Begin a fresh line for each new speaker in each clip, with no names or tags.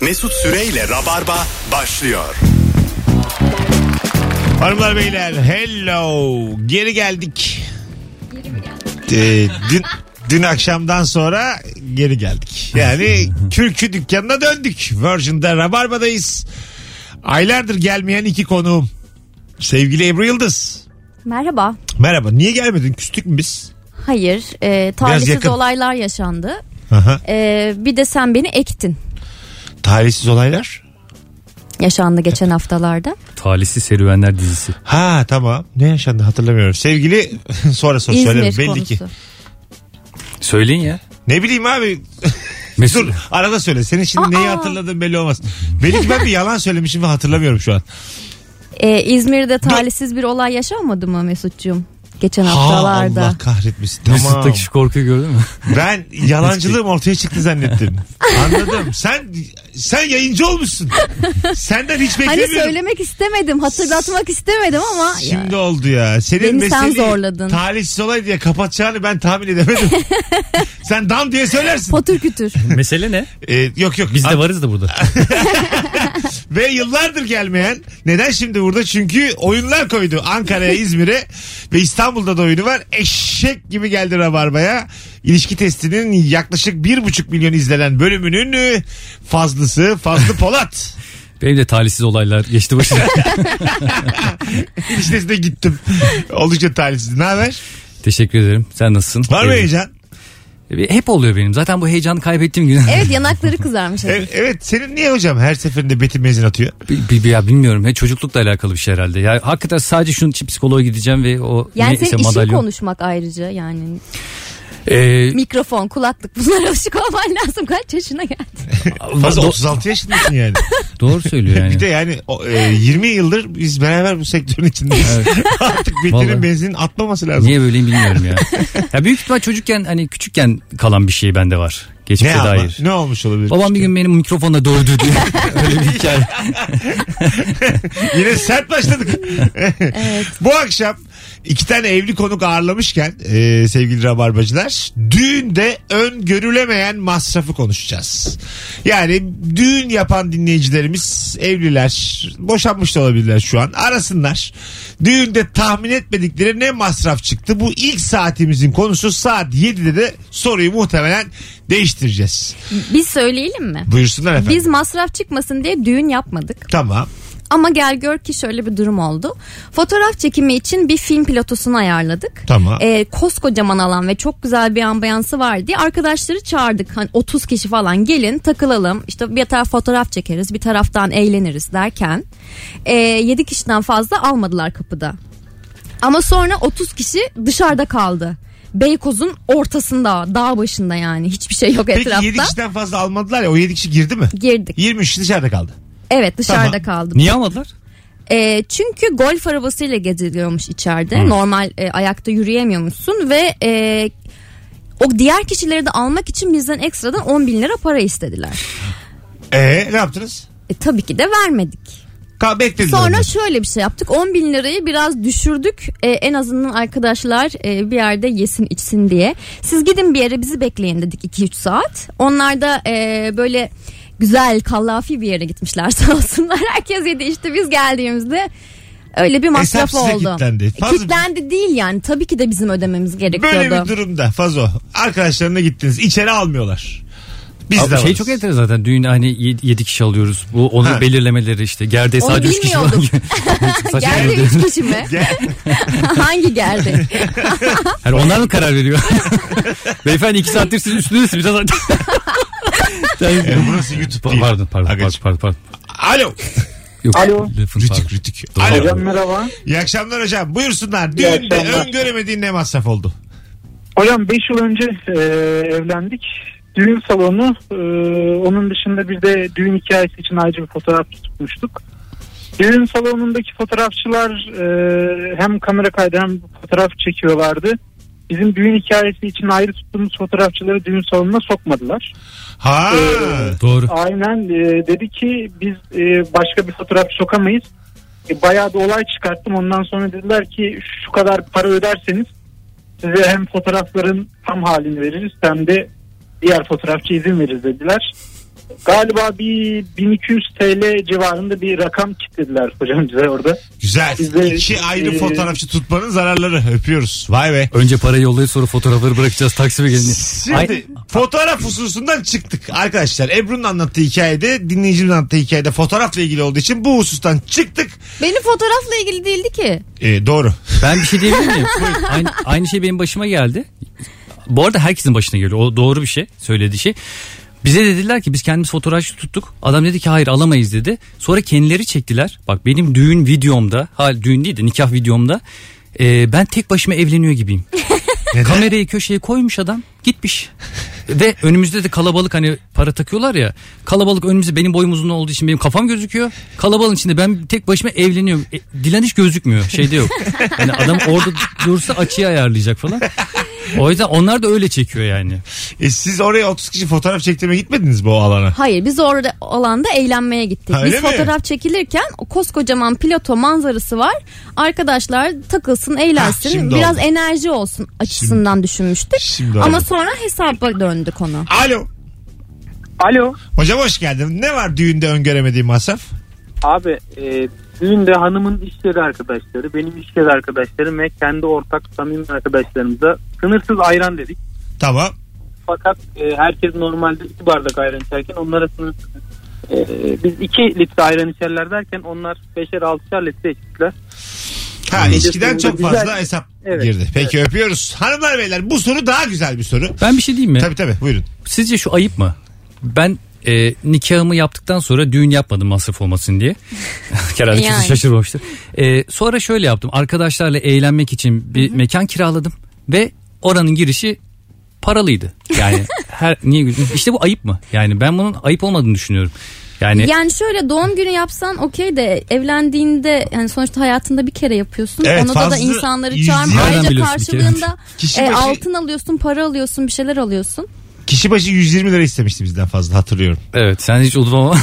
Mesut Süreyle Rabarba başlıyor.
Hanımlar beyler hello geri geldik. Ee, dün, dün akşamdan sonra geri geldik. Yani kürkü dükkanına döndük. Virgin'de Rabarba'dayız. Aylardır gelmeyen iki konuğum. Sevgili Ebru Yıldız.
Merhaba.
Merhaba. Niye gelmedin? Küstük mü biz?
Hayır, e, talihsiz
yakın.
olaylar yaşandı.
Aha.
E, bir de sen beni ektin.
Talihsiz olaylar.
Yaşandı geçen haftalarda.
Talihsiz Serüvenler dizisi.
Ha tamam. Ne yaşandı hatırlamıyorum. Sevgili sonra sonra söyle
İzmir
belli ki.
konusu.
Söyleyin ya.
Ne bileyim abi
Mesut.
Dur arada söyle. Senin şimdi neyi
Aa.
hatırladığın belli olmaz. Belki ben bir yalan söylemişim ve hatırlamıyorum şu an.
E, İzmir'de talihsiz bir olay yaşanmadı mı Mesut'cum? Geçen haftalarda.
Allah kahretmesin. Tamam.
Mesut'taki şu korkuyu gördün mü?
Ben yalancılığım ortaya çıktı zannettim. Anladım. Sen sen yayıncı olmuşsun. Senden hiç
Hani
beklemiyordum.
söylemek istemedim, hatırlatmak istemedim ama ya,
Şimdi oldu ya. Senin
Beni sen
meseleyi
zorladın.
Talihsiz olay diye kapatacağını ben tahmin edemedim. sen dam diye söylersin.
patır kütür.
Mesele ne?
Ee, yok yok.
Biz de varız da burada.
Ve yıllardır gelmeyen. Neden şimdi burada? Çünkü oyunlar koydu Ankara'ya, İzmir'e ve İstanbul'da da oyunu var. Eşek gibi geldi Rabarba'ya. İlişki testinin yaklaşık bir buçuk milyon izlenen bölümünün e, fazlası Fazlı Polat.
Benim de talihsiz olaylar geçti başına.
İlişki testine gittim. Oldukça talihsiz. Ne haber?
Teşekkür ederim. Sen nasılsın?
Var mı
Evet.
heyecan?
E, Hep oluyor benim. Zaten bu heyecanı kaybettiğim gün.
Evet yanakları kızarmış.
Evet, E, evet. Senin niye hocam her seferinde Betim benzin atıyor?
Bi- bi- ya bilmiyorum. Ya çocuklukla alakalı bir şey herhalde. Ya hakikaten sadece şunun için psikoloğa gideceğim ve o
Yani
neyse
senin işin
madalyon.
konuşmak ayrıca yani
Ee,
mikrofon kulaklık bunlara alışık olman lazım kaç yaşına geldin.
Fazla
do-
36 yaşındasın yani.
doğru söylüyor yani.
Bir de yani o, e, 20 yıldır biz beraber bu sektörün içindeyiz. Artık Betim'in
Vallahi.
benzin atmaması lazım.
Niye böyleyim bilmiyorum ya. ya büyük ihtimal çocukken hani küçükken kalan bir şey bende var.
Ne
Geçmişe
ama?
dair.
Ne olmuş olabilir?
Babam bir gün benim mikrofonla dövdü diye. Öyle bir hikaye.
Yine sert başladık. Bu akşam iki tane evli konuk ağırlamışken e, sevgili rabarbacılar düğünde öngörülemeyen masrafı konuşacağız. Yani düğün yapan dinleyicilerimiz evliler boşanmış da olabilirler şu an arasınlar. Düğünde tahmin etmedikleri ne masraf çıktı? Bu ilk saatimizin konusu saat 7'de de soruyu muhtemelen değiştireceğiz.
Biz söyleyelim mi?
Buyursunlar efendim.
Biz masraf çıkmasın diye düğün yapmadık.
Tamam.
Ama gel gör ki şöyle bir durum oldu. Fotoğraf çekimi için bir film pilotusunu ayarladık.
Tamam.
Ee, koskocaman alan ve çok güzel bir ambiyansı var diye arkadaşları çağırdık. Hani 30 kişi falan gelin takılalım. İşte bir taraf fotoğraf çekeriz bir taraftan eğleniriz derken. E, 7 kişiden fazla almadılar kapıda. Ama sonra 30 kişi dışarıda kaldı. Beykoz'un ortasında dağ başında yani hiçbir şey yok
Peki
etrafta.
7 kişiden fazla almadılar ya o 7 kişi girdi mi?
Girdik.
23 dışarıda kaldı.
Evet dışarıda
Tamam.
kaldım.
Niye almadılar?
E, çünkü golf arabasıyla geziliyormuş içeride. Normal e, ayakta yürüyemiyormuşsun ve e, o diğer kişileri de almak için bizden ekstradan 10 bin lira para istediler.
Ee ne yaptınız?
E, tabii ki de vermedik.
Ka beklediniz.
Sonra
orada.
şöyle bir şey yaptık. 10 bin lirayı biraz düşürdük. E, en azından arkadaşlar e, bir yerde yesin içsin diye. Siz gidin bir yere bizi bekleyin dedik 2-3 saat. Onlar da e, böyle güzel kallafi bir yere gitmişler sağ olsunlar. Herkes yedi işte biz geldiğimizde öyle bir
Hesap
masraf
size
oldu.
kilitlendi. Fazla-
Kitlendi değil yani. Tabii ki de bizim ödememiz gerekiyordu.
Böyle bir durumda Fazo arkadaşlarına gittiniz içeri almıyorlar. Biz
Abi
de
şey
varız.
çok enteresan zaten düğün hani 7 kişi alıyoruz. Bu onu
Ha.
belirlemeleri işte. Gerdeğe
Onu
sadece 3 kişi var.
bilmiyordum.
Saçma
Geldi
oldu.
üç kişi mi?
Gel-
Hangi geldi?
Yani onlar mı karar veriyor? Beyefendi 2 saattir sizin üstünüzdesiniz. Biraz
E, burası YouTube
pardon,
değil.
pardon, pardon, pardon,
Agacım.
pardon, pardon.
Alo.
Yok,
Alo.
lafın pardon.
Rütük rütük.
Hocam
Alo.
merhaba.
İyi akşamlar hocam. Buyursunlar.
İyi
Düğünde
akşamlar.
öngöremediğin ne masraf oldu?
Hocam 5 yıl önce e, evlendik. Düğün salonu e, onun dışında bir de düğün hikayesi için ayrıca bir fotoğraf tutmuştuk. Düğün salonundaki fotoğrafçılar e, hem kamera kaydı hem fotoğraf çekiyorlardı. Bizim düğün hikayesi için ayrı tuttuğumuz fotoğrafçıları düğün salonuna sokmadılar.
Ha.
Ee,
Doğru.
Aynen e, dedi ki biz e, başka bir fotoğraf sokamayız. E, bayağı da olay çıkarttım. Ondan sonra dediler ki şu kadar para öderseniz size hem fotoğrafların tam halini veririz hem de diğer fotoğrafçı izin veririz dediler. Galiba bir 1200 TL civarında bir rakam kitlediler hocam bize orada.
Güzel.
Bize-
İki ayrı
e-
fotoğrafçı tutmanın zararları. Öpüyoruz. Vay be.
Önce parayı yollayıp sonra fotoğrafları bırakacağız taksime gelince.
Şimdi
Ay-
fotoğraf hususundan çıktık arkadaşlar. Ebru'nun anlattığı hikayede, dinleyicinin anlattığı hikayede fotoğrafla ilgili olduğu için bu husustan çıktık.
Benim fotoğrafla ilgili değildi ki.
Ee, doğru.
Ben bir şey diyebilir miyim? aynı, aynı şey benim başıma geldi. Bu arada herkesin başına geliyor. O doğru bir şey. Söylediği şey. Bize dediler ki biz kendimiz fotoğrafçı tuttuk. Adam dedi ki hayır alamayız dedi. Sonra kendileri çektiler. Bak benim düğün videomda, ha düğün değil de nikah videomda e, ben tek başıma evleniyor gibiyim.
Neden?
Kamerayı köşeye koymuş adam gitmiş. Ve önümüzde de kalabalık hani para takıyorlar ya. Kalabalık önümüzde benim boyum uzun olduğu için benim kafam gözüküyor. Kalabalığın içinde ben tek başıma evleniyorum. E, Dilan hiç gözükmüyor. Şeyde yok. Yani adam orada dursa açıyı ayarlayacak falan. O yüzden onlar da öyle çekiyor yani.
E, siz oraya 30 kişi fotoğraf çektirmeye gitmediniz bu alana.
Hayır biz orada alanda eğlenmeye gittik.
Ha,
biz
öyle mi?
fotoğraf çekilirken o koskocaman plato manzarası var. Arkadaşlar takılsın
Ha,
eğlensin
şimdi
biraz
oldu.
enerji olsun açısından düşünmüştük.
Şimdi
Ama
oldu.
sonra hesaba döndü konu.
Alo.
Alo.
Hocam hoş geldin. Ne var düğünde öngöremediğin masraf?
Abi e, düğünde hanımın iş yeri arkadaşları, benim iş yeri arkadaşlarım ve kendi ortak samimi arkadaşlarımıza sınırsız ayran dedik.
Tamam.
Fakat e, herkes normalde iki bardak ayran içerken onlara sınırsız. E, biz iki litre ayran içerler derken onlar beşer altışar litre içtiler.
Ha içkiden çok
Hmm. Güzel.
fazla hesap
Evet.
girdi. Peki öpüyoruz. Hanımlar beyler bu soru daha güzel bir soru.
Ben bir şey diyeyim mi?
Tabii tabii buyurun.
Sizce şu ayıp mı? Ben e, nikahımı yaptıktan sonra düğün yapmadım masraf olmasın diye. Herhalde kimse
Yani.
şaşırmamıştır. E, sonra şöyle yaptım. Arkadaşlarla eğlenmek için bir mekan kiraladım. Ve oranın girişi paralıydı. Yani her niye güldün? İşte bu ayıp mı? Yani ben bunun ayıp olmadığını düşünüyorum. Yani
Yani şöyle doğum günü yapsan okey de evlendiğinde yani sonuçta hayatında bir kere yapıyorsun.
Evet,
Ona da da
fazla
insanları
yüz-
çağırma.
Nereden
Ayrıca
biliyorsun bir kere?
karşılığında
Kişi
e,
başı-
altın alıyorsun, para alıyorsun, bir şeyler alıyorsun.
Kişi başı 120 lira istemişti bizden fazla hatırlıyorum.
evet sen hiç unutma ama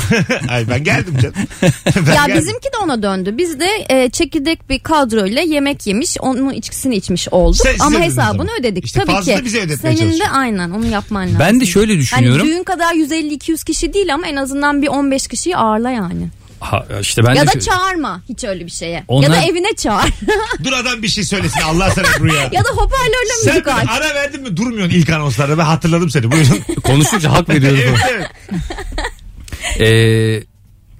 Ay ben geldim canım. Ben
ya
geldim.
bizimki de ona döndü. Biz de e, çekirdek bir kadroyla yemek yemiş, onun içkisini içmiş olduk.
Sen- siz
Ama
ödediniz
hesabını
ama.
ödedik
İşte
tabii
fazla
ki.
bize ödetmeye
Senin de
çalışıyor.
aynen onu yapman lazım.
ben de şöyle
yani
düşünüyorum.
düğün kadar 150-200 kişi değil ama en azından bir 15 kişiyi ağırla yani.
Ha, işte ben
ya
de
da
şöyle-
çağırma hiç öyle bir şeye.
Onlar-
Ya da evine çağır.
Dur adam bir şey söylesin Allah sana Ebru'ya.
ya da hoparlörle
Sen
müzik aç.
ara verdin mi durmuyorsun ilk anonslarda ben hatırladım seni buyurun.
konuşunca hak veriyoruz.
evet, evet.
Ee,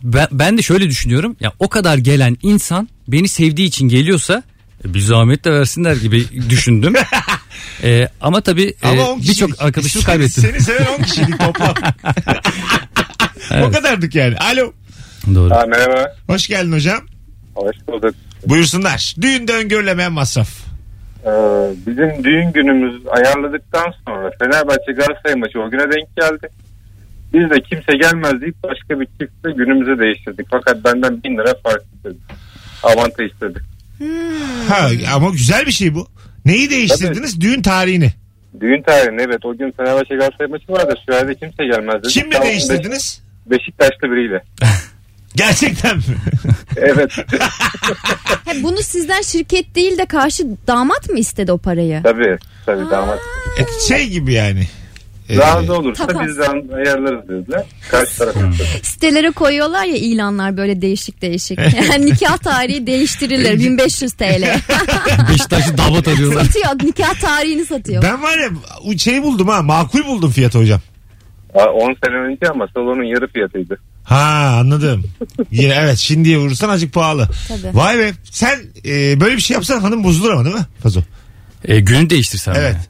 ben, ben de şöyle düşünüyorum. Ya o kadar gelen insan beni sevdiği için geliyorsa e, bir zahmet de versinler gibi düşündüm. Ee, ama tabii e,
Ama 10 kişilik.
birçok arkadaşımı kaybettim.
Seni seven 10 kişilik toplam. O kadardık yani. Alo.
Doğru.
Ha, merhaba.
Hoş geldin hocam.
Hoş bulduk.
Buyursunlar. Düğünde öngörülemeyen masraf.
Ee, bizim düğün günümüz ayarladıktan sonra Fenerbahçe Galatasaray maçı o güne denk geldi. Biz de kimse gelmez deyip başka bir çiftle günümüzü değiştirdik. Fakat benden bin lira fark istedik. Avantaj istedik.
Ha, ama güzel bir şey bu. Neyi değiştirdiniz? Düğün tarihini.
Düğün tarihini evet o gün Fenerbahçe Galatasaray maçı vardı. Şu halde kimse gelmez dedi.
Kimle
Tamam,
değiştirdiniz?
Beş- Beşiktaşlı biriyle.
Gerçekten mi?
Evet
He, bunu sizden şirket değil de karşı damat mı istedi o parayı?
tabii tabii damat.
E, şey gibi yani. Ee,
Razı olursa
Takas.
bizden ayarlarız dediler. Karşı
Hmm.
tarafa.
Sitelere koyuyorlar ya ilanlar böyle değişik değişik. Yani nikah tarihi değiştirilir 1500 TL.
Beşiktaş'ı damat alıyorlar.
satıyor nikah tarihini satıyor.
E, ben var ya u- şey buldum ha makul buldum fiyatı hocam.
10 sene önce ama salonun yarı fiyatıydı.
Ha anladım. Yine evet şimdiye vurursan azıcık pahalı.
Tabii.
Vay be sen e, böyle bir şey yapsan hanım bozulur ama değil mi? Fazo.
E, günü değiştirsem.
Evet.
yani.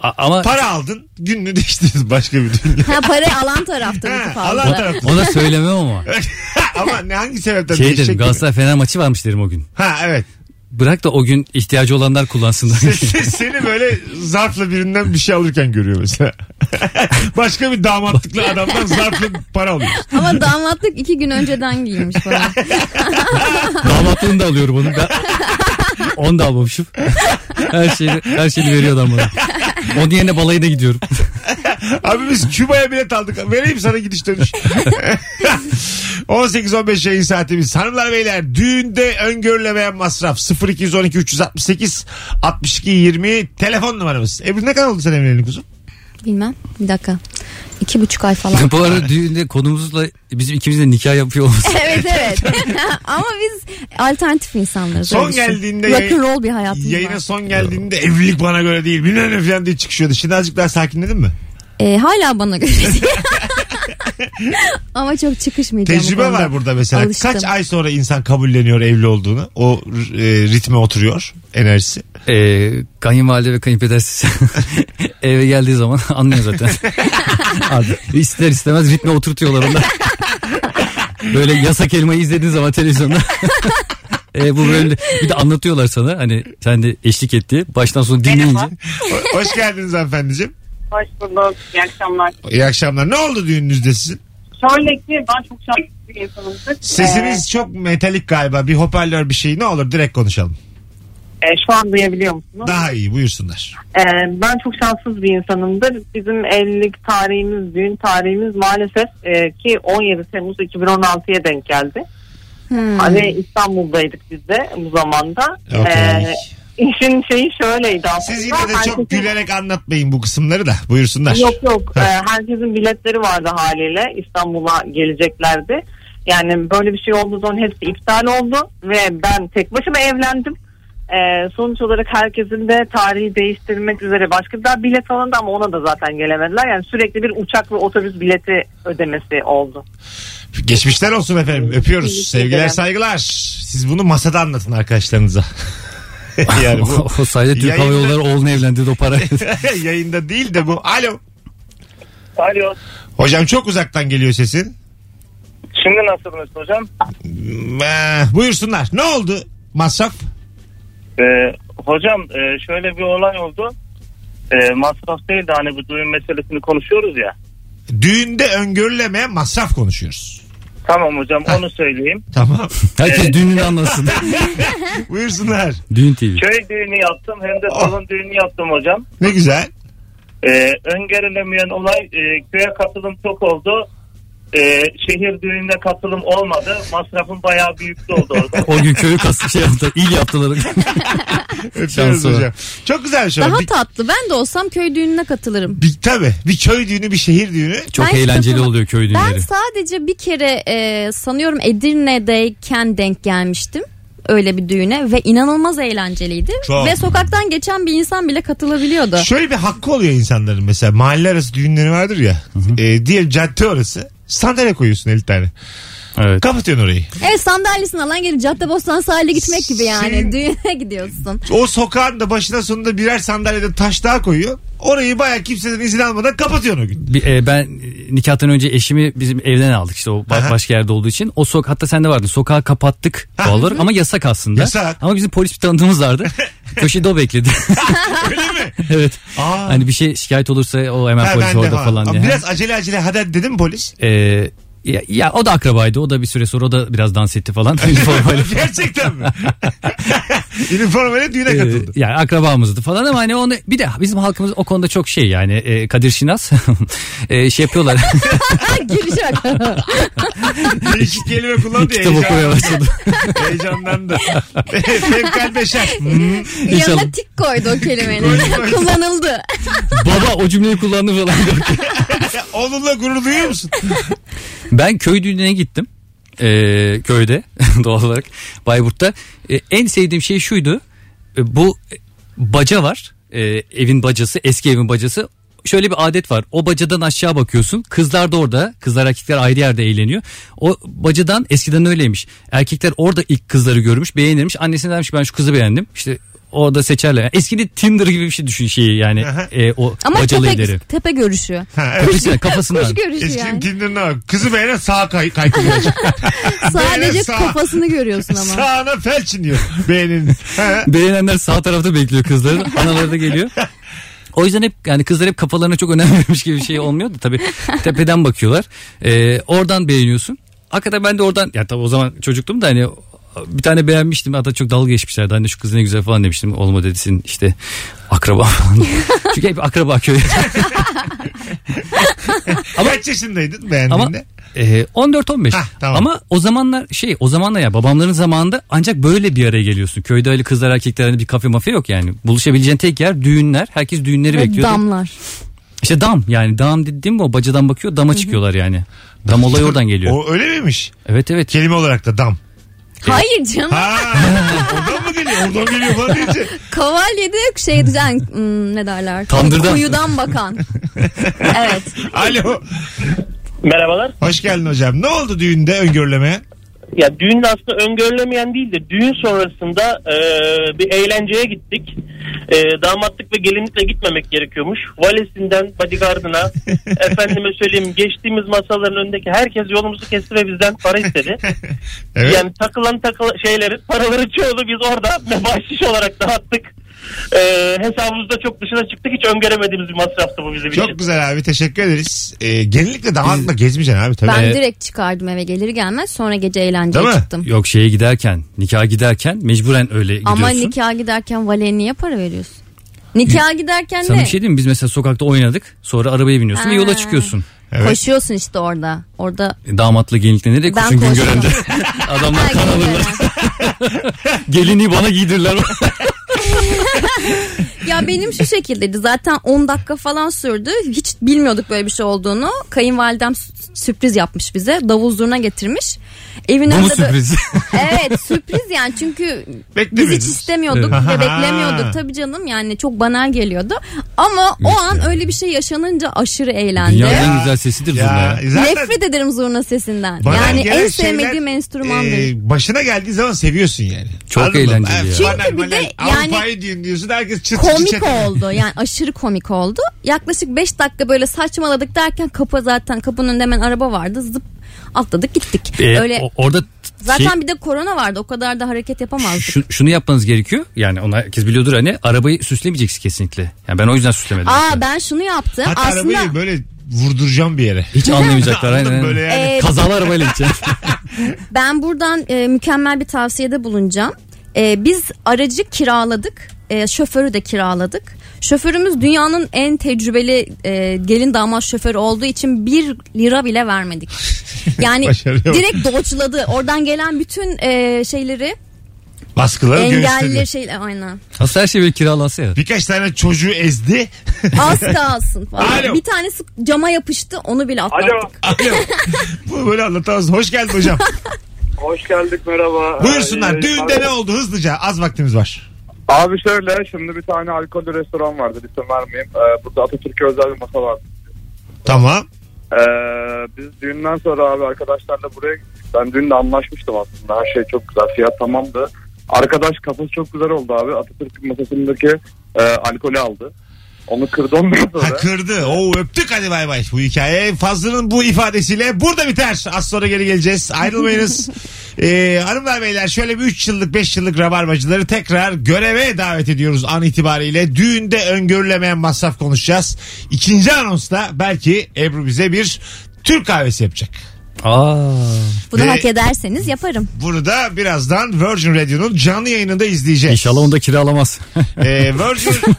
A- ama
Para aldın gününü değiştirdin başka bir düğünle.
Ha parayı alan taraftan
Ha,
iki
alan
fazla.
taraftan.
ona söylemem ama.
ama ne hangi sebepten
Şey
değişecek ki?
dedim Galatasaray Fener maçı varmış derim o gün.
Ha evet.
Bırak da o gün ihtiyacı olanlar kullansınlar.
Seni böyle zarfla birinden bir şey alırken görüyor mesela. başka bir damatlıklı adamdan zarfla para alıyor.
Ama damatlık iki gün önceden giymiş falan.
Damatlığını da alıyorum onun. Ben... Onu da almamışım. Her şeyi, her şeyi veriyor adam bana. Onun yerine balayına gidiyorum.
Abi biz Küba'ya bilet aldık. Vereyim sana gidiş dönüş. 18-15 yayın saatimiz. Hanımlar beyler düğünde öngörülemeyen masraf 0212 368 62 20 telefon numaramız. Ebru ne kadar oldu sen evlenelim kuzum?
Bilmem. Bir dakika. İki buçuk ay falan.
Bu arada düğünde konumuzla bizim ikimiz de nikah yapıyor olması.
evet evet. Ama biz alternatif insanlarız.
Son
öyle düşün.
geldiğinde yayın-
Rock'n'roll bir hayatımız
Yayına
var.
son geldiğinde evlilik bana göre değil bilmem ne falan diye çıkışıyordu. Şimdi azıcık daha sakinledin mi?
Ee, hala bana göre değil. Ama çok çıkışmayacağım. bu
Tecrübe
konuda.
var burada mesela.
Alıştım.
Kaç ay sonra insan kabulleniyor evli olduğunu. O e, ritme oturuyor enerjisi.
Ee, kayınvalide ve kayınpedersiz eve geldiği zaman anlıyor zaten. Abi, ister istemez ritme oturtuyorlar onlar. Böyle yasak elmayı izlediğin zaman televizyonda. Ee, bu böyle bir de anlatıyorlar sana hani sen de eşlik etti baştan sona dinleyince.
Ho- Hoş geldiniz hanımefendiciğim.
Hoş bulduk. İyi akşamlar.
İyi akşamlar. Ne oldu düğününüzde sizin?
Şöyle ki ben çok şanslı bir insanımdır.
Sesiniz çok metalik galiba. Bir hoparlör bir şey. Ne olur direkt konuşalım.
Ee, e, şu an duyabiliyor musunuz?
Daha iyi buyursunlar.
Ee, ben çok şanssız bir insanımdır. Bizim evlilik tarihimiz, düğün tarihimiz maalesef e, ki 17 Temmuz 2016'ya denk geldi.
Hmm.
Hani İstanbul'daydık biz de bu zamanda.
Okey.
Ee, işin şeyi şöyleydi aslında.
Siz yine de çok
Herkesin-
gülerek anlatmayın bu kısımları da. Buyursunlar.
Yok yok.
Ha.
Ee, herkesin biletleri vardı haliyle. İstanbul'a geleceklerdi. Yani böyle bir şey olduğu zaman hepsi iptal oldu ve ben tek başıma evlendim. Ee, sonuç olarak herkesin de tarihi değiştirmek üzere başka bir daha bilet alındı ama ona da zaten gelemediler. Yani sürekli bir uçak ve otobüs bileti ödemesi oldu.
Geçmişler olsun efendim. Öpüyoruz.
Teşekkür
Sevgiler
ederim.
saygılar. Siz bunu masada anlatın arkadaşlarınıza. yani bu
o sayede Türk Hava
Yayında-
Yolları oğlunu evlendirdi o para.
yayında değil de bu. Alo.
Alo.
Hocam çok uzaktan geliyor sesin.
Şimdi nasılsınız hocam?
Hmm, eh, Buyursunlar. Ne oldu? Masraf.
Ee, hocam e, şöyle bir olay oldu. Ee, masraf değil de hani bu düğün meselesini konuşuyoruz ya.
Düğünde öngörülemeyen masraf konuşuyoruz.
Tamam hocam onu söyleyeyim.
Tamam.
Herkes düğününü anlasın.
Buyursunlar.
Düğün TV.
Köy düğünü yaptım hem de salon düğünü yaptım hocam.
Ne güzel.
Ee, öngörülemeyen olay e, köye katılım çok oldu. Ee, şehir düğününe katılım olmadı. Masrafın bayağı büyüklü oldu orada.
O gün köyü kastı şey yaptı. il yaptılar.
Öpüyoruz
Şansı var.
hocam. Çok güzel şu an.
Daha
Bir,
tatlı. Ben de olsam köy düğününe katılırım.
bir, tabii. Bir köy düğünü bir şehir düğünü.
Çok
Ben
eğlenceli
katılmam.
oluyor köy
Ben
düğünleri.
sadece bir kere e, sanıyorum Edirne'deyken denk gelmiştim öyle bir düğüne ve inanılmaz eğlenceliydi.
Çok.
Ve sokaktan geçen bir insan bile katılabiliyordu.
Şöyle bir hakkı oluyor insanların mesela mahalle arası düğünleri vardır ya. E, diyelim cadde orası. Sandalye koyuyorsun 50 tane.
Evet.
Kapatıyorsun orayı.
Evet sandalyesini alan gelip Caddebostan sahile gitmek gibi yani.
Senin-
Düğüne gidiyorsun.
O sokağın da başına sonunda birer sandalyede taş daha koyuyor. Orayı baya kimseden izin almadan kapatıyorsun o gün.
Bir, e, ben e, nikahtan önce eşimi bizim evden aldık işte o ba-
Aha.
başka yerde olduğu için. O sok hatta sen de vardın. Sokağı kapattık
Ha.
doğal olarak ama yasak aslında.
Yasak.
Ama bizim polis bir tanıdığımız vardı. Köşede o bekledi.
Öyle mi?
evet.
Aa.
Hani bir şey şikayet olursa o hemen
Ha,
hani polis
bende
orada
ha.
falan
Ama
diye.
Biraz acele acele hadi dedi mi polis?
E, ya, ya o da akrabaydı. O da bir süre sonra o da biraz dans etti falan. Üniformayla.
Gerçekten mi? Üniformayla düğüne
Ee,
katıldı.
yani akrabamızdı falan ama hani onu bir de bizim halkımız o konuda çok şey yani e, Kadir Şinas e, şey yapıyorlar
Giriş yok.
Değişik kelime kullandı.
kitap
Heyecan,
okumaya başladı.
heyecanlandı. Fevkal Beşer. Hmm.
İnşallah.
Yanına tik koydu o kelimenin. Kullanıldı.
Baba o cümleyi kullandı falan.
Onunla gurur duyuyor musun?
Ben köy düğününe gittim. Ee, köyde doğal olarak Bayburt'ta. Ee, en sevdiğim şey şuydu. Ee, bu e, baca var. Ee, evin bacası, eski evin bacası. Şöyle bir adet var. O bacadan aşağı bakıyorsun. Kızlar da orada. Kızlar erkekler ayrı yerde eğleniyor. O bacadan eskiden öyleymiş. Erkekler orada ilk kızları görmüş, beğenirmiş. Annesine demiş ki, ben şu kızı beğendim. İşte orada seçerler. Yani eskiden Tinder gibi bir şey düşün şeyi yani.
Aha.
e, o
Ama
bacalı
tepe,
evleri.
tepe görüşü.
Ha, evet.
Kafasından, kafasından.
Kuş görüşü
Eskinin
yani.
Tinder'ına bak. Kızı beğenen sağ kay kaykılıyor.
Sadece
Sağ.
kafasını görüyorsun ama.
Sağına felç iniyor beğenin. Ha.
Beğenenler sağ tarafta bekliyor kızları. Anaları da geliyor. O yüzden hep yani kızlar hep kafalarına çok önem vermiş gibi bir şey olmuyor da tabii tepeden bakıyorlar. Ee, oradan beğeniyorsun. Hakikaten ben de oradan ya tabii o zaman çocuktum da hani bir tane beğenmiştim hatta çok dalga geçmişlerdi. Hani şu kız ne güzel falan demiştim. Olma dedisin işte akraba falan. Çünkü hep akraba köyü.
Kaç yaşındaydın beğendiğinde?
Ee, 14-15.
Hah, tamam.
Ama o zamanlar şey o zamanlar ya babamların zamanında ancak böyle bir araya geliyorsun. Köyde öyle kızlar erkekler hani bir kafe mafe yok yani. Buluşabileceğin tek yer düğünler. Herkes düğünleri
Ve
bekliyor.
damlar.
İşte dam yani dam dediğim o bacadan bakıyor dama çıkıyorlar yani. Dam olayı oradan geliyor.
O öyle miymiş?
Evet evet.
Kelime olarak da dam.
Hayır canım.
Ha, oradan mı geliyor? Oradan geliyor falan deyince.
Kavalyede şey diyeceksin. hmm, ne derler?
Tandırdan.
Kuyudan bakan. evet.
Alo.
Merhabalar.
Hoş geldin hocam. Ne oldu düğünde öngörülemeyen?
Ya düğün de aslında öngörülemeyen değil de düğün sonrasında e, bir eğlenceye gittik. E, damatlık ve gelinlikle gitmemek gerekiyormuş. Valesinden bodyguardına efendime söyleyeyim geçtiğimiz masaların önündeki herkes yolumuzu kesti ve bizden para istedi.
Evet.
Yani takılan takılan şeyleri paraları çoğunu biz orada bahşiş olarak dağıttık. E, hesabımızda çok dışına çıktık. Hiç öngöremediğimiz bir masraftı bu bizim için.
Çok güzel abi teşekkür ederiz. Ee, genellikle damatla gezmeyeceksin abi tabii.
Ben
Ee,
direkt çıkardım eve gelir gelmez sonra gece eğlenceye
Değil mi?
çıktım.
Yok şeye giderken nikah giderken mecburen öyle gidiyorsun.
Ama nikah giderken valeye niye para veriyorsun? Nikah giderken
Sana
ne?
bir şey diyeyim mi? Biz mesela sokakta oynadık. Sonra arabaya biniyorsun ve
Ha.
yola çıkıyorsun.
Evet.
Koşuyorsun işte orada. Orada
E, Damatla gelinlikle nereye
ben
koşun gün
koşuyorum.
görende. Adamlar kan alırlar. Gelini bana giydirirler.
Ya benim şu şekildeydi zaten 10 dakika falan sürdü. Hiç bilmiyorduk böyle bir şey olduğunu. Kayınvalidem sü- sürpriz yapmış bize. Davul zurna getirmiş. Evin
Bu mu
önünde de-
sürpriz?
Evet sürpriz yani çünkü biz hiç
Beklemediniz.
istemiyorduk
Evet.
ve beklemiyorduk. Tabii canım yani çok banal geliyordu. Ama o an öyle bir şey yaşanınca aşırı eğlendim.
Dünyanın en güzel sesidir zurna
Ya,
ya.
zaten
Nefret ederim zurna sesinden.
bana
yani
gelen
en
şeyler,
sevmediğim enstrümandır.
e, başına geldiği zaman seviyorsun yani.
Çok
mı?
eğlenceli
Ha,
ya.
bana-
Çünkü bir
bana
de
Avrupa'yı düğün diyorsun herkes çıt çıt
komik
çıt.
oldu. Yani aşırı komik oldu. Yaklaşık 5 dakika böyle saçmaladık derken kapı zaten kapının önünde hemen araba vardı. Zıp atladık gittik.
E,
Öyle
o- orada t-
zaten
şey-
bir de korona vardı. O kadar da hareket yapamazdık.
şu- şunu yapmanız gerekiyor. Yani onu herkes biliyordur hani arabayı süslemeyeceksin kesinlikle. Yani ben o yüzden süslemedim.
Aa ben şunu yaptım.
Hatta
Aslında
arabayı böyle vurduracağım bir yere.
Hiç anlamayacaklar.
Anladım,
aynen.
böyle yani.
e,
Kazalı arabayla gideceksin.
Ben buradan e, mükemmel bir tavsiyede bulunacağım. E, biz aracı kiraladık. E, şoförü de kiraladık. Şoförümüz dünyanın en tecrübeli e, gelin damat şoförü olduğu için bir lira bile vermedik. Yani
Başarıya bak.
direkt dodge'ladı. Oradan gelen bütün e, şeyleri,
Baskıları
engelli
göğüsledi.
şey aynen.
Aslında her şey böyle kiralansa ya.
Birkaç tane çocuğu ezdi.
Az kalsın falan.
Alo.
Bir tanesi cama yapıştı, onu bile atlattık.
Alo. Bu böyle anlatamazsın. Hoş geldin hocam.
Hoş geldik merhaba.
Buyursunlar.
Ee,
Düğünde ne oldu hızlıca? Az vaktimiz var.
Abi şöyle şimdi bir tane alkollü restoran vardı isim vermeyeyim. Ee, burada Atatürk'e özel bir masa vardı.
Tamam.
Ee, biz düğünden sonra abi arkadaşlarla buraya gittik. Ben düğünde anlaşmıştım aslında. Her şey çok güzel. Fiyat tamamdı. Arkadaş kafası çok güzel oldu abi. Atatürk masasındaki e, alkolü aldı. Onu kırdı ondan
Ha,
sonra.
kırdı. Oo, öptük hadi bay bay. Bu hikaye Fazlı'nın bu ifadesiyle burada biter. Az sonra geri geleceğiz. Ayrılmayınız. ee, hanımlar beyler şöyle bir 3 yıllık 5 yıllık rabarbacıları tekrar göreve davet ediyoruz an itibariyle. Düğünde öngörülemeyen masraf konuşacağız. İkinci anonsla belki Ebru bize bir Türk kahvesi yapacak.
Aa.
Bunu
Ve-
hak ederseniz yaparım.
Bunu da birazdan Virgin Radio'nun canlı yayınında izleyeceğiz.
İnşallah onu da kiralamaz.
Ee, Virgin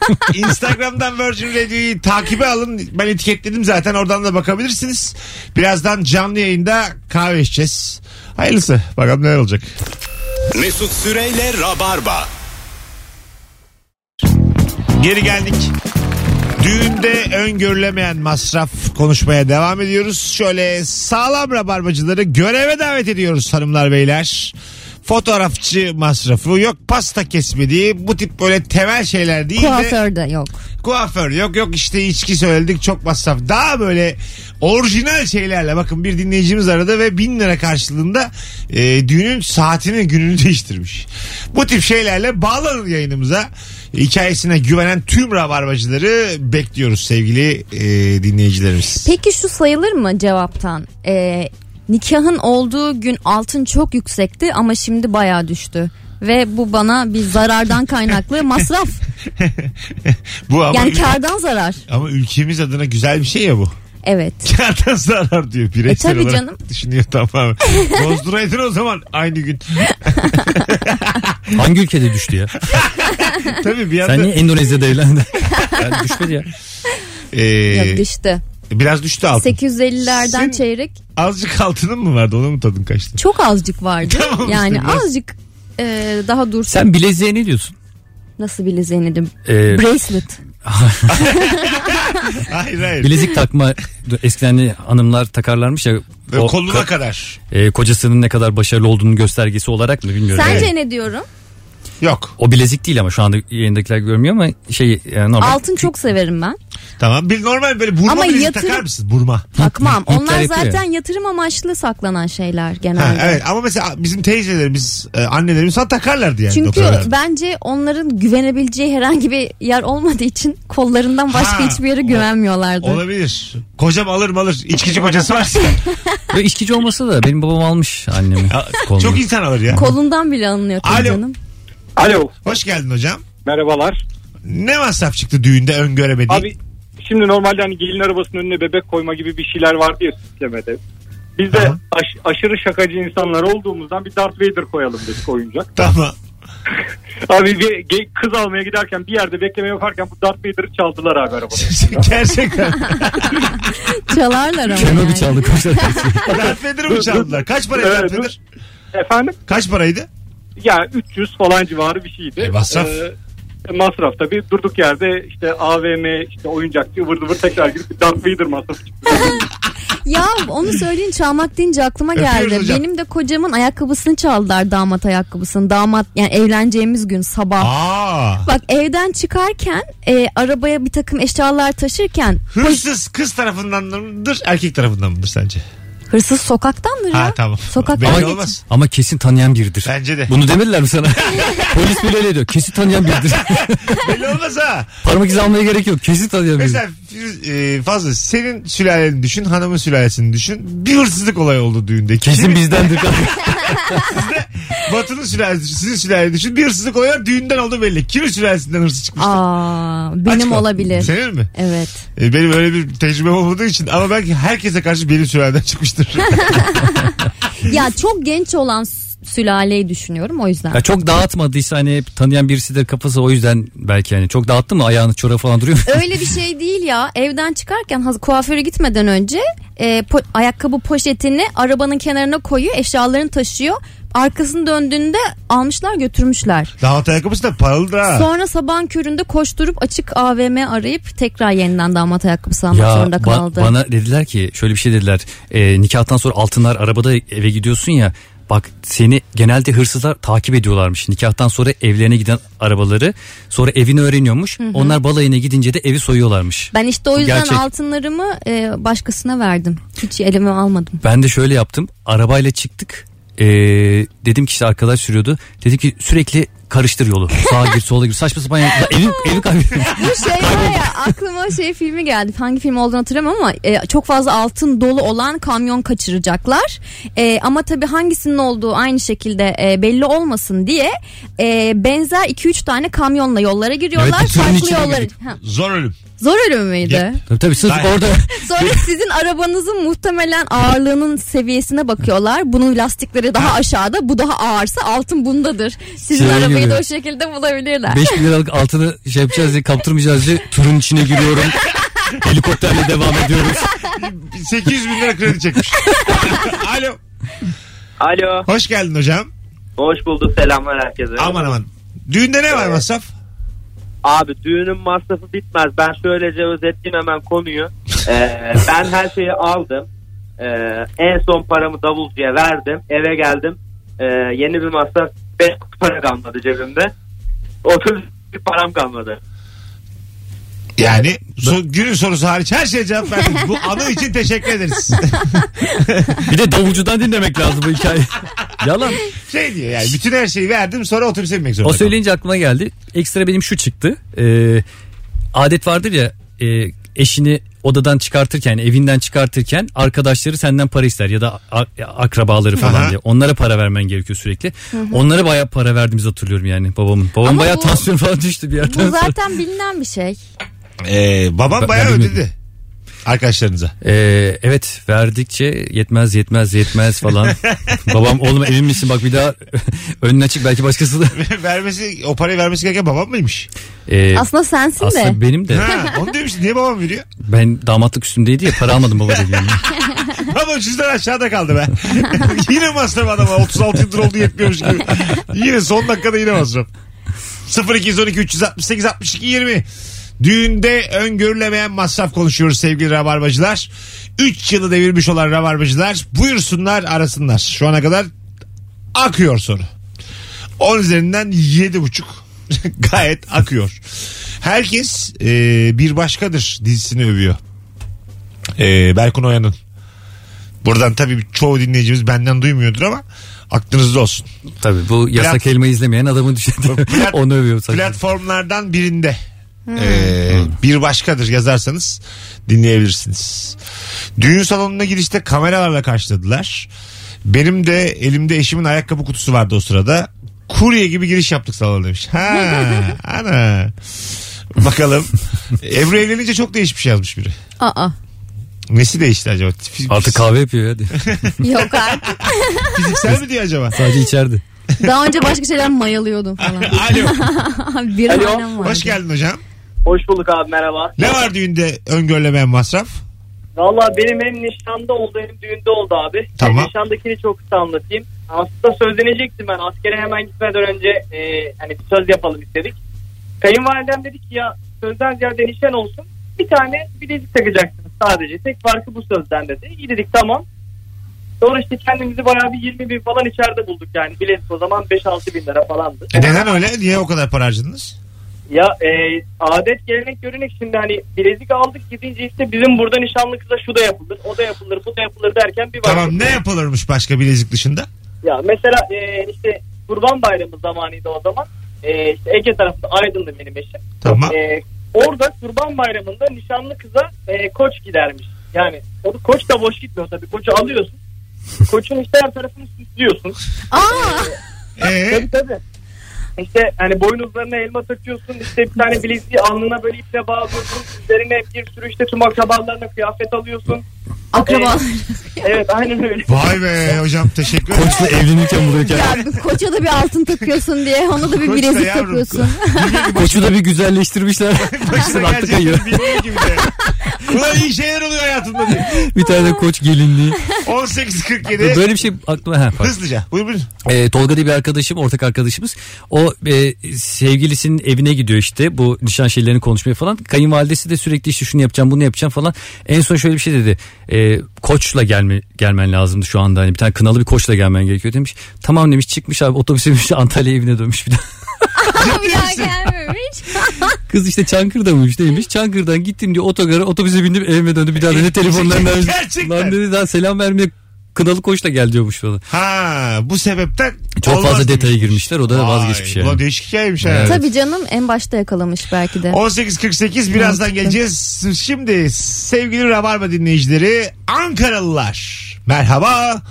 Instagram'dan Virgin Radio'yu takibe alın. Ben etiketledim zaten oradan da bakabilirsiniz. Birazdan canlı yayında kahve içeceğiz. Hayırlısı. Bakalım neler olacak.
Mesut Süreyle Rabarba.
Geri geldik. Düğünde öngörülemeyen masraf konuşmaya devam ediyoruz. Şöyle sağlam rabarbacıları göreve davet ediyoruz hanımlar beyler. Fotoğrafçı masrafı yok pasta kesmediği bu tip böyle temel şeyler değil de
Kuaför de yok.
kuaför yok yok işte içki söyledik çok masraf. Daha böyle orijinal şeylerle bakın bir dinleyicimiz aradı ve bin lira karşılığında e, düğünün saatini gününü değiştirmiş. Bu tip şeylerle bağlanın yayınımıza. Hikayesine güvenen tüm rabarbacıları bekliyoruz sevgili e, dinleyicilerimiz.
Peki şu sayılır mı cevaptan? Ee, nikahın olduğu gün altın çok yüksekti ama şimdi bayağı düştü. Ve bu bana bir zarardan kaynaklı masraf.
Bu ama,
Yani kardan zarar.
ama ülkemiz adına güzel bir şey ya bu.
Evet.
Kağıttan zarar diyor bireysel
E tabii
olarak
canım.
düşünüyor tamamen. Bozduraydın o zaman aynı gün.
Hangi ülkede düştü ya?
tabii bir anda
Sen niye Endonezya'da evlendin? yani düşmedi ya.
e,
Ya düştü.
biraz düştü altın.
850'lerden
Sen-
çeyrek
Azıcık altının mı vardı ona mı tadın kaçtı?
çok azıcık vardı.
Tamam işte
yani
biraz-
azıcık e, daha dursun.
Sen bileziğe ne diyorsun?
Nasıl bileziğini de
Ee,
bracelet.
Hayır hayır.
Bilezik takma eskiden hani hanımlar takarlarmış ya.
Böyle
o
koluna
ka-
kadar.
e, kocasının ne kadar başarılı olduğunun göstergesi olarak mı bilmiyorum.
Sence
Evet.
ne diyorum?
Yok.
O bilezik değil ama şu anda yayındakiler görmüyor ama şey e, normal.
Altın çok severim ben.
Tamam. Bir normal böyle burma
Ama
bileziği
yatırım-
takar mısın? Burma.
Takmam.
Yükler
Onlar
yapıyor ya.
zaten yatırım amaçlı saklanan şeyler
Ha,
genelde.
evet ama mesela bizim teyzelerimiz, e, annelerimiz falan takarlardı yani.
Çünkü
doktorlar.
bence onların güvenebileceği herhangi bir yer olmadığı için kollarından başka
Ha,
hiçbir yere güvenmiyorlardı.
Olabilir. Kocam alır mı alır. İçkici kocası varsa.
Ve içkici olmasa da benim babam almış annemin kolunu.
Çok insan alır ya.
Kolundan bile alınıyor tabii
Alo.
canım.
Alo
Hoş geldin hocam.
merhabalar.
Ne masraf çıktı düğünde öngöremediğin?
Abi şimdi normalde hani gelin arabasının önüne bebek koyma gibi bir şeyler vardı ya süslemede. Biz de
Aha.
aş- aşırı şakacı insanlar olduğumuzdan bir Darth Vader koyalım dedik oyuncak.
Tamam.
Abi bir ge- kız almaya giderken bir yerde bekleme yaparken bu Darth Vader'ı çaldılar abi arabada.
Gerçekten.
Çalarlar ama
Kemer bir
yani.
çaldı koşar.
Darth Vader'ı mı çaldılar? Kaç paraydı
Evet,
Darth
dur.
Vader?
Efendim?
Kaç paraydı?
Ya 300 falan civarı bir şeydi.
E, masraf.
Ee, masraf tabii. Durduk yerde işte AVM, işte oyuncakçı ıvır zıvır tekrar girip bir Darth Vader masrafı çıktı.
Ya onu söyleyin çalmak deyince aklıma
Öpüyoruz
geldi.
hocam.
Benim de kocamın ayakkabısını çaldılar damat ayakkabısını. Damat yani evleneceğimiz gün sabah.
Aa.
Bak evden çıkarken e, arabaya bir takım eşyalar taşırken
Hırsız kız tarafından mıdır erkek tarafından mıdır sence?
hırsız sokaktandır ya.
Ha tamam.
Sokaktan
Belli
geçin.
olmaz.
ama kesin tanıyan biridir.
Bence de.
Bunu demediler mi sana? Polis bile öyle diyor. Kesin tanıyan biridir.
Belli olmaz ha.
Parmak izi almaya gerek yok. Kesin tanıyan biridir.
Mesela Firuz- e, fazla senin sülaleni düşün, hanımın sülalesini düşün. Bir hırsızlık olayı oldu düğünde.
Kesin
Kimi-
bizdendir.
Batı'nın sülalesi, düşün, sizin sülaleni düşün. Bir hırsızlık olayı var, düğünden oldu belli. Kimin sülalesinden hırsız çıkmış?
Aa, benim
Açma.
olabilir.
Senin mi?
Evet.
E, benim öyle bir tecrübem olmadığı için ama belki herkese karşı benim sülaleden çıkmıştır.
Ya çok genç olan s- sülaleyi düşünüyorum o yüzden.
Ya çok dağıtmadıysa hani hep tanıyan birisidir kafası o yüzden belki hani çok dağıttı mı ayağını çorabı falan duruyor mu?
Öyle bir şey değil ya. Evden çıkarken haz- kuaföre gitmeden önce e, po- ayakkabı poşetini arabanın kenarına koyuyor, eşyalarını taşıyor. Arkasını döndüğünde almışlar götürmüşler.
Damat ayakkabısı da paralıdır ha.
Sonra sabahın köründe koşturup açık AVM arayıp tekrar yeniden damat ayakkabısı almak
Ya
zorunda
ba-
kaldı.
bana dediler ki şöyle bir şey dediler. E, nikahtan sonra altınlar arabada eve gidiyorsun ya. Bak seni genelde hırsızlar takip ediyorlarmış. Nikahtan sonra evlerine giden arabaları sonra evini öğreniyormuş. Onlar balayına gidince de evi soyuyorlarmış.
Ben işte o yüzden
Gerçek.
altınlarımı e, başkasına verdim. Hiç elime almadım.
Ben de şöyle yaptım. Arabayla çıktık. Ee, dedim ki işte arkadaş sürüyordu. Dedim ki sürekli karıştır yolu. Sağa gir sola gir. Saçma sapan. ya- Evi, evi kaybettim.
Bu şey var ya aklıma o şey filmi geldi. Hangi film olduğunu hatırlamıyorum ama e, çok fazla altın dolu olan kamyon kaçıracaklar. E, ama tabii hangisinin olduğu aynı şekilde e, belli olmasın diye e, benzer 2-3 tane kamyonla yollara giriyorlar.
Evet, bir türün
farklı
içine
yollara.
girdik.
Ha,
Zor ölüm.
zor ölüm müydü?
Ya-
tabii tabii sırf
Hayır.
orada.
Sonra sizin arabanızın muhtemelen ağırlığının seviyesine bakıyorlar. Bunun lastikleri daha aşağıda, bu daha ağırsa altın bundadır. Sizin
Şey
arabayı
gibi.
da o şekilde bulabilirler.
5 bin liralık altını şey yapacağız diye kaptırmayacağız diye turun içine giriyorum. Helikopterle devam ediyoruz.
800 bin lira kredi çekmiş. Alo.
Alo.
Hoş geldin hocam.
Hoş bulduk. Selamlar herkese.
Aman aman. Düğünde ne var masraf?
Abi düğünün masrafı bitmez. Ben şöylece özetleyeyim hemen konuyu. Ee, ben her şeyi aldım. Ee, en son paramı davulcuya verdim. Eve geldim. Ee, yeni bir masraf. Beş para kalmadı cebimde. 30 bir param kalmadı.
Yani so- günün sorusu hariç her şeye cevap verdik. Bu anı için teşekkür ederiz.
Bir de davulcudan dinlemek lazım bu hikayeyi. Yalan.
şey diyor yani bütün her şeyi verdim sonra otobüse binmek zorunda.
O
kaldım.
söyleyince aklıma geldi. Ekstra benim şu çıktı. Ee, adet vardır ya e, eşini odadan çıkartırken evinden çıkartırken arkadaşları senden para ister ya da a- akrabaları falan
Aha.
diye. Onlara para vermen gerekiyor sürekli. Onlara bayağı para verdiğimizi hatırlıyorum yani babamın. Babam
Ama
bayağı
bu-
tansiyon falan düştü bir yerden
Bu
sonra.
zaten bilinen bir şey.
Ee, babam
e, Ben-
bayağı
ben bilmiyorum.
ödedi. Arkadaşlarınıza.
Ee, evet verdikçe yetmez yetmez yetmez falan. Babam oğlum emin misin bak bir daha önüne çık belki başkası da.
Vermesi, o parayı vermesi gereken babam mıymış?
Ee,
Aslında sensin de.
aslında benim de
Ha, onu demişti. Niye babam veriyor?
ben damatlık üstümdeydi ya para almadım baba dediğim.
Babam cüzdan aşağıda kaldı be. yine masraf adama. 36 yıldır oldu yetmiyormuş gibi. Yine son dakikada yine masraf. 0212 368 62 20 Düğünde öngörülemeyen masraf konuşuyoruz sevgili rabarbacılar. 3 yılı devirmiş olan rabarbacılar buyursunlar arasınlar. Şu ana kadar akıyor soru. 10 üzerinden 7,5 gayet akıyor. Herkes e, Bir Başkadır dizisini övüyor. E, Berkun Oya'nın. Buradan tabii çoğu dinleyicimiz benden duymuyordur ama aklınızda olsun.
Tabii bu yasak
Plat-
elma izlemeyen adamın düşedi.
Plat-
Onu övüyor sadece.
Platformlardan birinde. Ee, bir başkadır yazarsanız dinleyebilirsiniz. Düğün salonuna girişte kameralarla karşıladılar. Benim de elimde eşimin ayakkabı kutusu vardı o sırada. Kurye gibi giriş yaptık salona demiş. Ha, ana. Bakalım. Ebru evlenince çok değişmiş yazmış biri.
Aa,
Nesi değişti acaba? Fiz-
Artık kahve yapıyor hadi.
yok artık.
Fiziksel mi diyor acaba?
Sadece içeride.
Daha önce başka şeyler mayalıyordum falan.
Alo.
bir
Alo,
hanem vardı.
Hoş geldin hocam.
Hoş bulduk abi merhaba.
Ne var düğünde öngörülemeyen masraf?
Valla benim hem nişanda oldu hem düğünde oldu abi.
Tamam.
Nişandakini çok kısa anlatayım. Aslında sözlenecektim ben. Askere hemen gitmeden önce e, hani bir söz yapalım istedik. Kayınvalidem dedi ki ya sözden ziyade nişan olsun. Bir tane bilezik takacaksınız sadece. Tek farkı bu sözden dedi. İyi dedik tamam. Sonra işte kendimizi bayağı bir 20 bin falan içeride bulduk yani. Bilezik o zaman 5-6 bin lira falandı.
E neden öyle? Niye o kadar para harcadınız?
Ya e, adet gelenek görenek şimdi hani bilezik aldık gidince işte bizim burada nişanlı kıza şu da yapılır, o da yapılır, bu da yapılır derken bir baktık.
Tamam ne yapılırmış başka bilezik dışında?
Ya mesela e, işte Kurban Bayramı zamanıydı o zaman. E, işte Ege tarafında Aydın'da benim eşim.
Tamam.
E, orada Kurban Bayramı'nda nişanlı kıza e, koç gidermiş. Yani o da- koç da boş gitmiyor tabii. Koçu alıyorsun. Koçun işte her tarafını süslüyorsun.
Aa,
Ee,
Tabii tabii. İşte hani boynuzlarına elma takıyorsun. işte bir tane bileziği alnına böyle iple bağlıyorsun. Üzerine bir sürü işte tüm akrabalarına kıyafet alıyorsun. Ee,
akraba.
Evet aynen öyle.
vay be hocam teşekkür ederim.
Koçla evlenirken buluyor
ya
kendini.
bir koça da bir altın takıyorsun diye ona da bir
Koç da
bilezik
yavrum.
takıyorsun.
Koçu da bir güzelleştirmişler.
Başına
Başına aklı
gelecek
kayıyor.
bildiği gibi de. Ulan iyi şeyler oluyor hayatımda diye.
Bir tane koç gelinliği.
18.47
Böyle bir şey aklıma... Ha, pardon.
hızlıca. Buyur buyur.
Ee, Tolga diye bir arkadaşım, ortak arkadaşımız. O e, sevgilisinin evine gidiyor işte bu nişan şeylerini konuşmaya falan. Kayınvalidesi de sürekli işte şunu yapacağım, bunu yapacağım falan. En son şöyle bir şey dedi. Ee, koçla gelme, gelmen lazımdı şu anda. Hani bir tane kınalı bir koçla gelmen gerekiyor demiş. Tamam demiş çıkmış abi otobüse binmiş Antalya evine dönmüş bir daha.
bir daha gelmemiş.
Kız işte Çankırda mıymış neymiş? Çankır'dan gittim diyor otogara otobüse bindim evime döndüm. Bir daha da ne telefonlarından.
Gerçekten.
Lan dedi daha selam vermeye kınalı koçla gel diyormuş falan.
Ha bu sebepten
Çok
olmaz
fazla
demiş.
detaya girmişler o da
Vay,
vazgeçmiş yani.
Ulan değişik hikayeymiş ha.
Evet.
Tabii canım en başta yakalamış belki de.
18.48 birazdan geleceğiz. Şimdi sevgili Rabarba dinleyicileri Ankaralılar merhaba.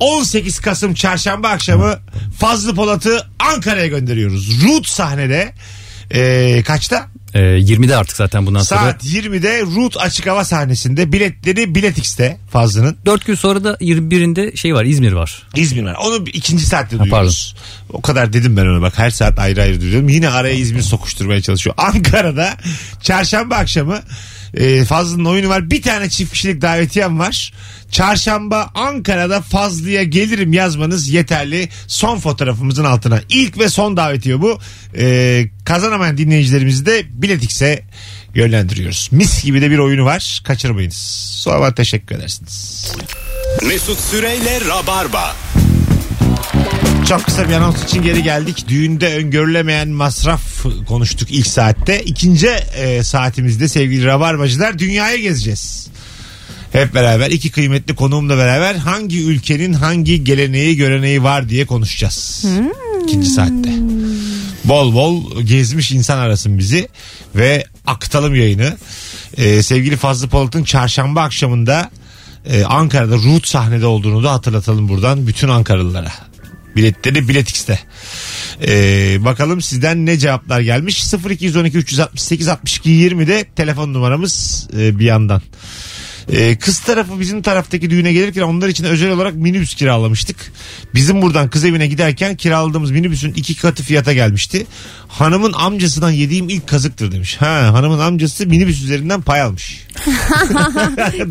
18 Kasım çarşamba akşamı Fazlı Polat'ı Ankara'ya gönderiyoruz. Root sahnede Ee, kaçta?
Ee, 20'de artık zaten bundan sonra.
Saat 20'de Root Açık Hava sahnesinde biletleri Bilet X'te Fazlı'nın.
4 gün sonra da 21'inde şey var İzmir var.
İzmir var. Onu bir- ikinci saatte
pardon.
duyuyoruz. O kadar dedim ben ona bak her saat ayrı ayrı duyuyorum. Yine araya İzmir sokuşturmaya çalışıyor. Ankara'da çarşamba akşamı e, Fazlı'nın oyunu var. Bir tane çift kişilik davetiyem var. Çarşamba Ankara'da Fazlı'ya gelirim yazmanız yeterli. Son fotoğrafımızın altına. İlk ve son davetiye bu. E, kazanamayan dinleyicilerimizi de biletikse yönlendiriyoruz. Mis gibi de bir oyunu var. Kaçırmayınız. Sonra teşekkür edersiniz.
Mesut Süreyle Rabarba.
Çok kısa bir anons için geri geldik. Düğünde öngörülemeyen masraf konuştuk ilk saatte. İkinci e, saatimizde sevgili rabarbacılar dünyaya gezeceğiz. Hep beraber iki kıymetli konuğumla beraber hangi ülkenin hangi geleneği göreneği var diye konuşacağız. İkinci saatte. Bol bol gezmiş insan arasın bizi ve aktalım yayını. E, sevgili Fazlı Polat'ın çarşamba akşamında e, Ankara'da Root sahnede olduğunu da hatırlatalım buradan bütün Ankaralılara. Biletleri biletikste. Ee, bakalım sizden ne cevaplar gelmiş. 0212 368 62 20'de telefon numaramız e, bir yandan. Ee, kız tarafı bizim taraftaki düğüne gelirken onlar için özel olarak minibüs kiralamıştık. Bizim buradan kız evine giderken kiraladığımız minibüsün iki katı fiyata gelmişti. Hanımın amcasından yediğim ilk kazıktır demiş. Ha, hanımın amcası minibüs üzerinden pay almış.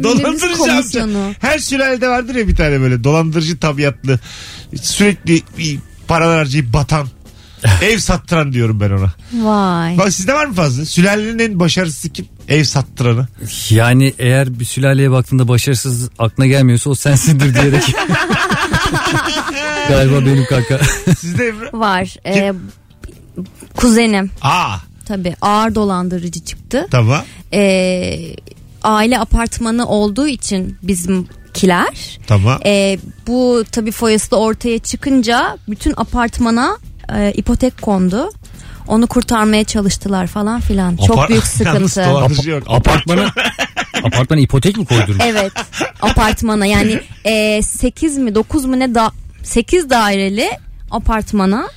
dolandırıcı amca.
komisyonu.
Her sülalede vardır ya bir tane böyle dolandırıcı tabiatlı sürekli bir paralar harcayıp batan. Ev sattıran diyorum ben ona.
Vay.
Bak sizde var mı fazla? Sülalenin en başarısız kim? Ev sattıranı.
Yani eğer bir sülaleye baktığında başarısız aklına gelmiyorsa o sensindir diyerek. Galiba benim kanka.
Sizde Ebru?
Var. Ee, kuzenim
Aa
tabii ağır dolandırıcı çıktı.
tamam.
Ee, aile apartmanı olduğu için bizimkiler.
Tamam.
Ee, bu tabii foyası da ortaya çıkınca bütün apartmana e, ipotek kondu. Onu kurtarmaya çalıştılar falan filan.
Apar-
Çok büyük
Yalnız
sıkıntı.
dolandırıcı yok.
Apartmana, apartmana ipotek mi koydurmuş?
Evet. Apartmana yani e, 8 mi 9 mu ne da 8 daireli apartmana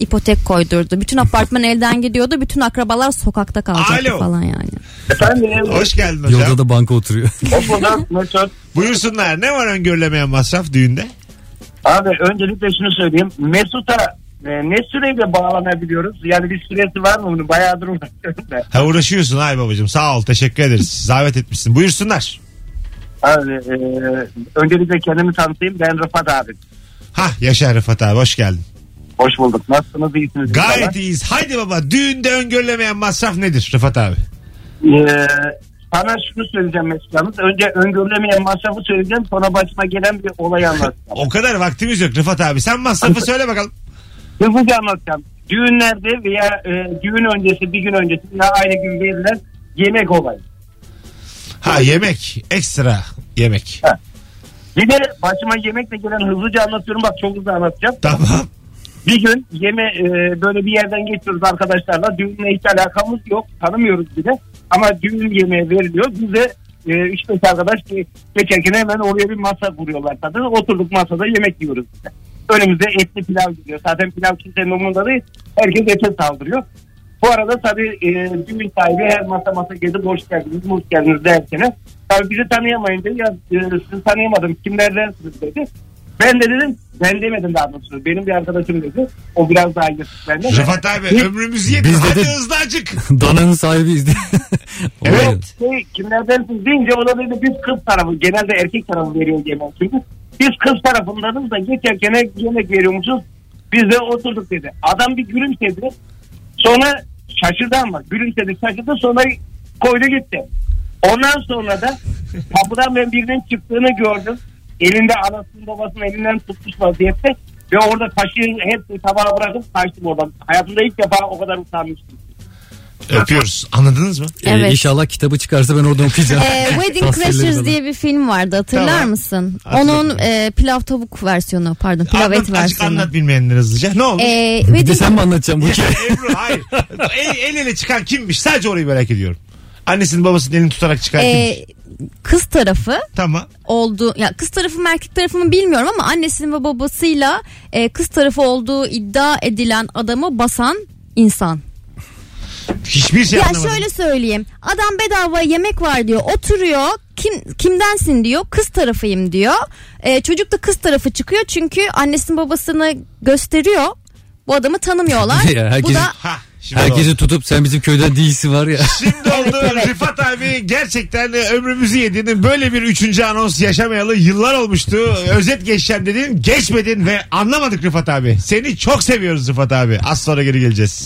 ipotek koydurdu. Bütün apartman elden gidiyordu. Bütün akrabalar sokakta kalacaktı
Alo.
falan yani.
E,
Efendim
Hoş geldin hocam.
Yolda da banka oturuyor.
o fotoğraf meşhur.
Buyursunlar. Ne var öngörülemeyen masraf düğünde?
Abi öncelikle şunu söyleyeyim. Mesut'a e, ne süreyle bağlanabiliyoruz? Yani bir süresi var mı bunun? Bayağıdır uğraşıyorum da.
Ha uğraşıyorsun ay babacığım. Sağ ol. Teşekkür ederiz. Zahmet etmişsin. Buyursunlar.
Abi e, öncelikle kendimi tanıtayım. Ben Rıfat abi.
Ha yaşa Rıfat abi hoş geldin.
Hoş bulduk. Nasılsınız? İyisiniz.
Gayet iyiyiz. Haydi baba düğünde öngörülemeyen masraf nedir Rıfat abi?
Ee, sana şunu söyleyeceğim Mesut Yalnız. Önce öngörülemeyen masrafı söyleyeceğim. Sonra başıma gelen bir olayı anlatacağım.
O kadar vaktimiz yok Rıfat abi. Sen masrafı söyle bakalım.
Hızlıca anlatacağım. Düğünlerde veya e, düğün öncesi bir gün öncesi veya aynı gün verilen yemek olayı.
Ha yemek. Ekstra yemek.
Yine başıma yemekle gelen hızlıca anlatıyorum. Bak çok hızlı anlatacağım.
Tamam.
Bir gün yeme e, böyle bir yerden geçiyoruz arkadaşlarla. Düğünle hiç alakamız yok. Tanımıyoruz bile. Ama düğün yemeği veriliyor. Bize e, üç beş arkadaş ge- geçerken hemen oraya bir masa kuruyorlar zaten. Oturduk masada yemek yiyoruz. biz de. Önümüze etli pilav gidiyor. Zaten pilav kimsenin umurunda değil. Herkes ete saldırıyor. Bu arada tabii e, düğün sahibi her masa masa gelip hoş geldiniz, hoş geldiniz derken tabii bizi tanıyamayınca ya e, sizi tanıyamadım kimlerdensiniz dedi. Ben de dedim ben demedim daha doğrusu. Benim bir arkadaşım dedi. O biraz daha yırtık benden.
Rıfat abi ömrümüz yedi.
Biz
Hadi
dedi-
hızlı acık.
Dananın sahibiyiz diye.
Evet.
Olay.
Şey, kimlerdensiniz deyince o da dedi biz kız tarafı. Genelde erkek tarafı veriyor yemek çünkü. Biz kız tarafındanız da geçerken hep yemek veriyormuşuz. Biz de oturduk dedi. Adam bir gülümsedi. Sonra şaşırdı ama. Gülümsedi şaşırdı sonra koydu gitti. Ondan sonra da kapıdan ben birinin çıktığını gördüm. Elinde anasının babasının elinden tutmuş vaziyette. Ve orada taşı hepsini tabağa bırakıp kaçtım oradan. Hayatımda ilk defa o kadar utanmıştım.
Öpüyoruz. Anladınız mı?
Evet.
e, inşallah kitabı çıkarsa ben orada okuyacağım.
Ee, Wedding
Tasvirleri
Crashers
falan.
diye bir film vardı hatırlar
Tamam.
mısın?
Hatırladım.
Onun e, pilav tavuk versiyonu pardon pilav
Anlat,
et
azıcık
versiyonu.
anlat bilmeyenler hızlıca. Ne olmuş?
Ee,
Bir de
wedding,
sen mi anlatacaksın bu hikayeyi?
Ebru hayır. El, el ele çıkan kimmiş? Sadece orayı merak ediyorum. Annesinin babasının elini tutarak çıkan kimmiş?
e, kız tarafı
Tamam.
oldu ya kız tarafı mı erkek tarafı mı bilmiyorum ama annesinin ve babasıyla e, kız tarafı olduğu iddia edilen adamı basan insan.
Hiçbir şey
Ya
anlamadım.
şöyle söyleyeyim. Adam bedava yemek var diyor. Oturuyor. Kim kimdensin diyor. Kız tarafıyım diyor. Ee, çocuk da kız tarafı çıkıyor çünkü annesinin babasını gösteriyor. Bu adamı tanımıyorlar.
Ya
Bu
herkes-
da
Ha, şimdi
Herkesi tutup sen bizim köyden değilsin var ya.
Şimdi oldu. Rıfat abi gerçekten de ömrümüzü yediğinin böyle bir üçüncü anons yaşamayalı yıllar olmuştu. Özet geçeceğim dedin, geçmedin ve anlamadık Rıfat abi. Seni çok seviyoruz Rıfat abi. Az sonra geri geleceğiz.